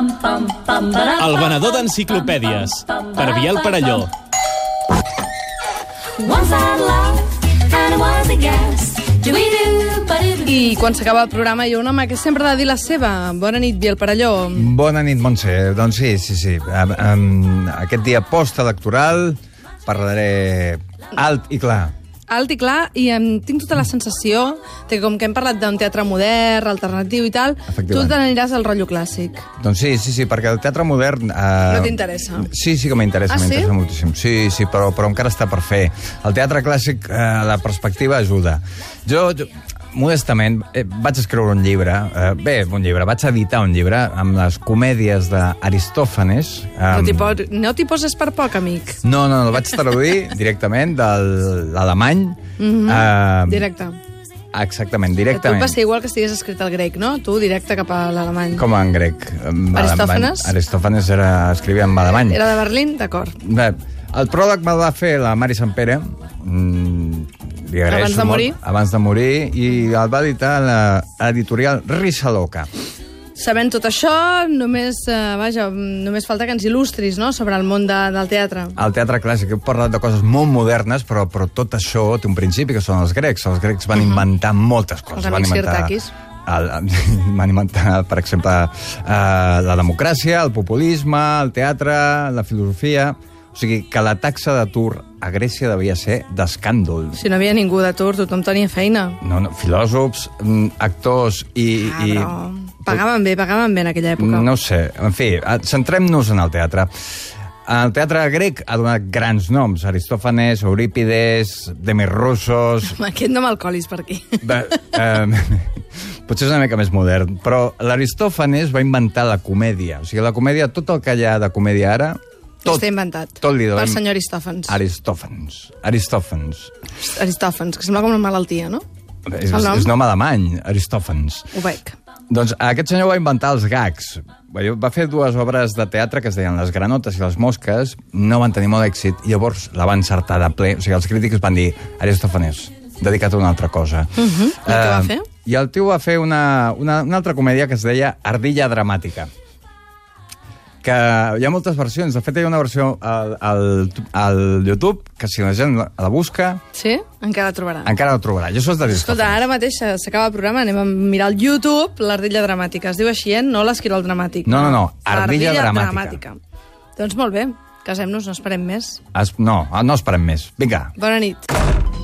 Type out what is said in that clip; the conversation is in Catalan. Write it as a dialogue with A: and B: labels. A: El venedor d'enciclopèdies, per Biel Parelló.
B: Once I loved, and it was a guess. Do we do, but it
C: I quan s'acaba el programa hi ha un home que sempre ha de dir la seva. Bona nit, Biel Parelló.
D: Bona nit, Montse. Doncs sí, sí, sí. Em- em- Aquest dia postelectoral parlaré alt i clar.
C: Alt i clar, i em tinc tota la sensació de que com que hem parlat d'un teatre modern, alternatiu i tal, tu
D: Efectivament.
C: te n'aniràs al rotllo clàssic.
D: Doncs sí, sí, sí, perquè el teatre modern... Eh...
C: No t'interessa?
D: Sí, sí que m'interessa,
C: Ah, sí?
D: m'interessa moltíssim. Sí, sí, però, però encara està per fer. El teatre clàssic, eh, la perspectiva ajuda. Jo, jo modestament, eh, vaig escriure un llibre, eh, bé, un llibre, vaig editar un llibre amb les comèdies d'Aristòfanes. Eh,
C: No t'hi po no t'hi poses per poc, amic.
D: No, no, el vaig traduir directament de l'alemany. Mm
C: Mhm.
D: -hmm.
C: Directe.
D: Exactament,
C: A Tu et
D: directament.
C: va ser igual que estigués escrit al grec, no? Tu directe cap a l'alemany.
D: Com en grec. em-
C: Aristòfanes?
D: Aristòfanes era, escrivia en alemany.
C: Era de Berlín? D'acord.
D: Bé, el pròleg me'l va fer la Mari Sant Pere, mm, li agraeixo
C: Abans de
D: molt,
C: morir.
D: Abans de morir, i el va editar la- l'editorial Risa Loca.
C: Sabent tot això, només, eh, vaja, mm, només falta que ens il·lustris no? sobre el món de, del teatre.
D: El teatre clàssic, hem parlat de coses molt modernes, però, però tot això té un principi, que són els grecs. Els grecs van inventar moltes coses.
C: Mhm. Els
D: van
C: amics
D: inventar...
C: Sirtakis.
D: El, van inventar, per exemple, eh, la democràcia, el populisme, el teatre, la filosofia... O sigui, que la taxa d'atur a Grècia devia ser d'escàndol.
C: Si no hi havia ningú d'atur, tothom tenia feina.
D: No, no, filòsofs, mm, actors i...
C: Ah,
D: i...
C: però pagaven bé, pagaven bé en aquella època.
D: No ho sé. En fi, eh, centrem-nos en el teatre. El teatre grec ha donat grans noms. Aristòfanes, Eurípides, Demirrussos...
C: Aquest no me'l colis per aquí.
D: Bé, eh, potser és una mica més modern, però l'Aristòfanes va inventar la comèdia. O sigui, la comèdia, tot el que hi ha de comèdia ara... Tot,
C: Està inventat.
D: Tot li devem...
C: Per senyor Aristòfans.
D: Aristòfans. Aristòfans.
C: Aristòfans, que sembla com una malaltia, no?
D: És,
C: El nom?
D: és nom alemany, Aristòfans.
C: Ho veig.
D: Doncs aquest senyor va inventar els gags. Veieu, Va fer dues obres de teatre que es deien Les granotes i les mosques, no van tenir molt èxit, i llavors la van encertar de ple. O sigui, els crítics van dir, Aristòfanes, dedicat a una altra cosa. Uh -huh.
C: Mhm. I què va fer?
D: I el tio va fer una, una, una altra comèdia que es deia Ardilla Dramàtica que hi ha moltes versions. De fet, hi ha una versió al, al, al YouTube que si la gent la la busca
C: Sí? Encara la trobarà.
D: encara la trobarà. Jo soc de
C: Escolta,
D: Aristòfanes.
C: ara mateix eh, s'acaba el programa, anem a mirar al YouTube l'ardilla dramàtica. Es diu així, eh? No l'esquirol dramàtic.
D: No, no, no,
C: L'ardilla
D: ardilla
C: dramàtica. Doncs molt bé, casem-nos, no esperem més.
D: Es, no, no esperem més. Vinga.
C: Bona nit.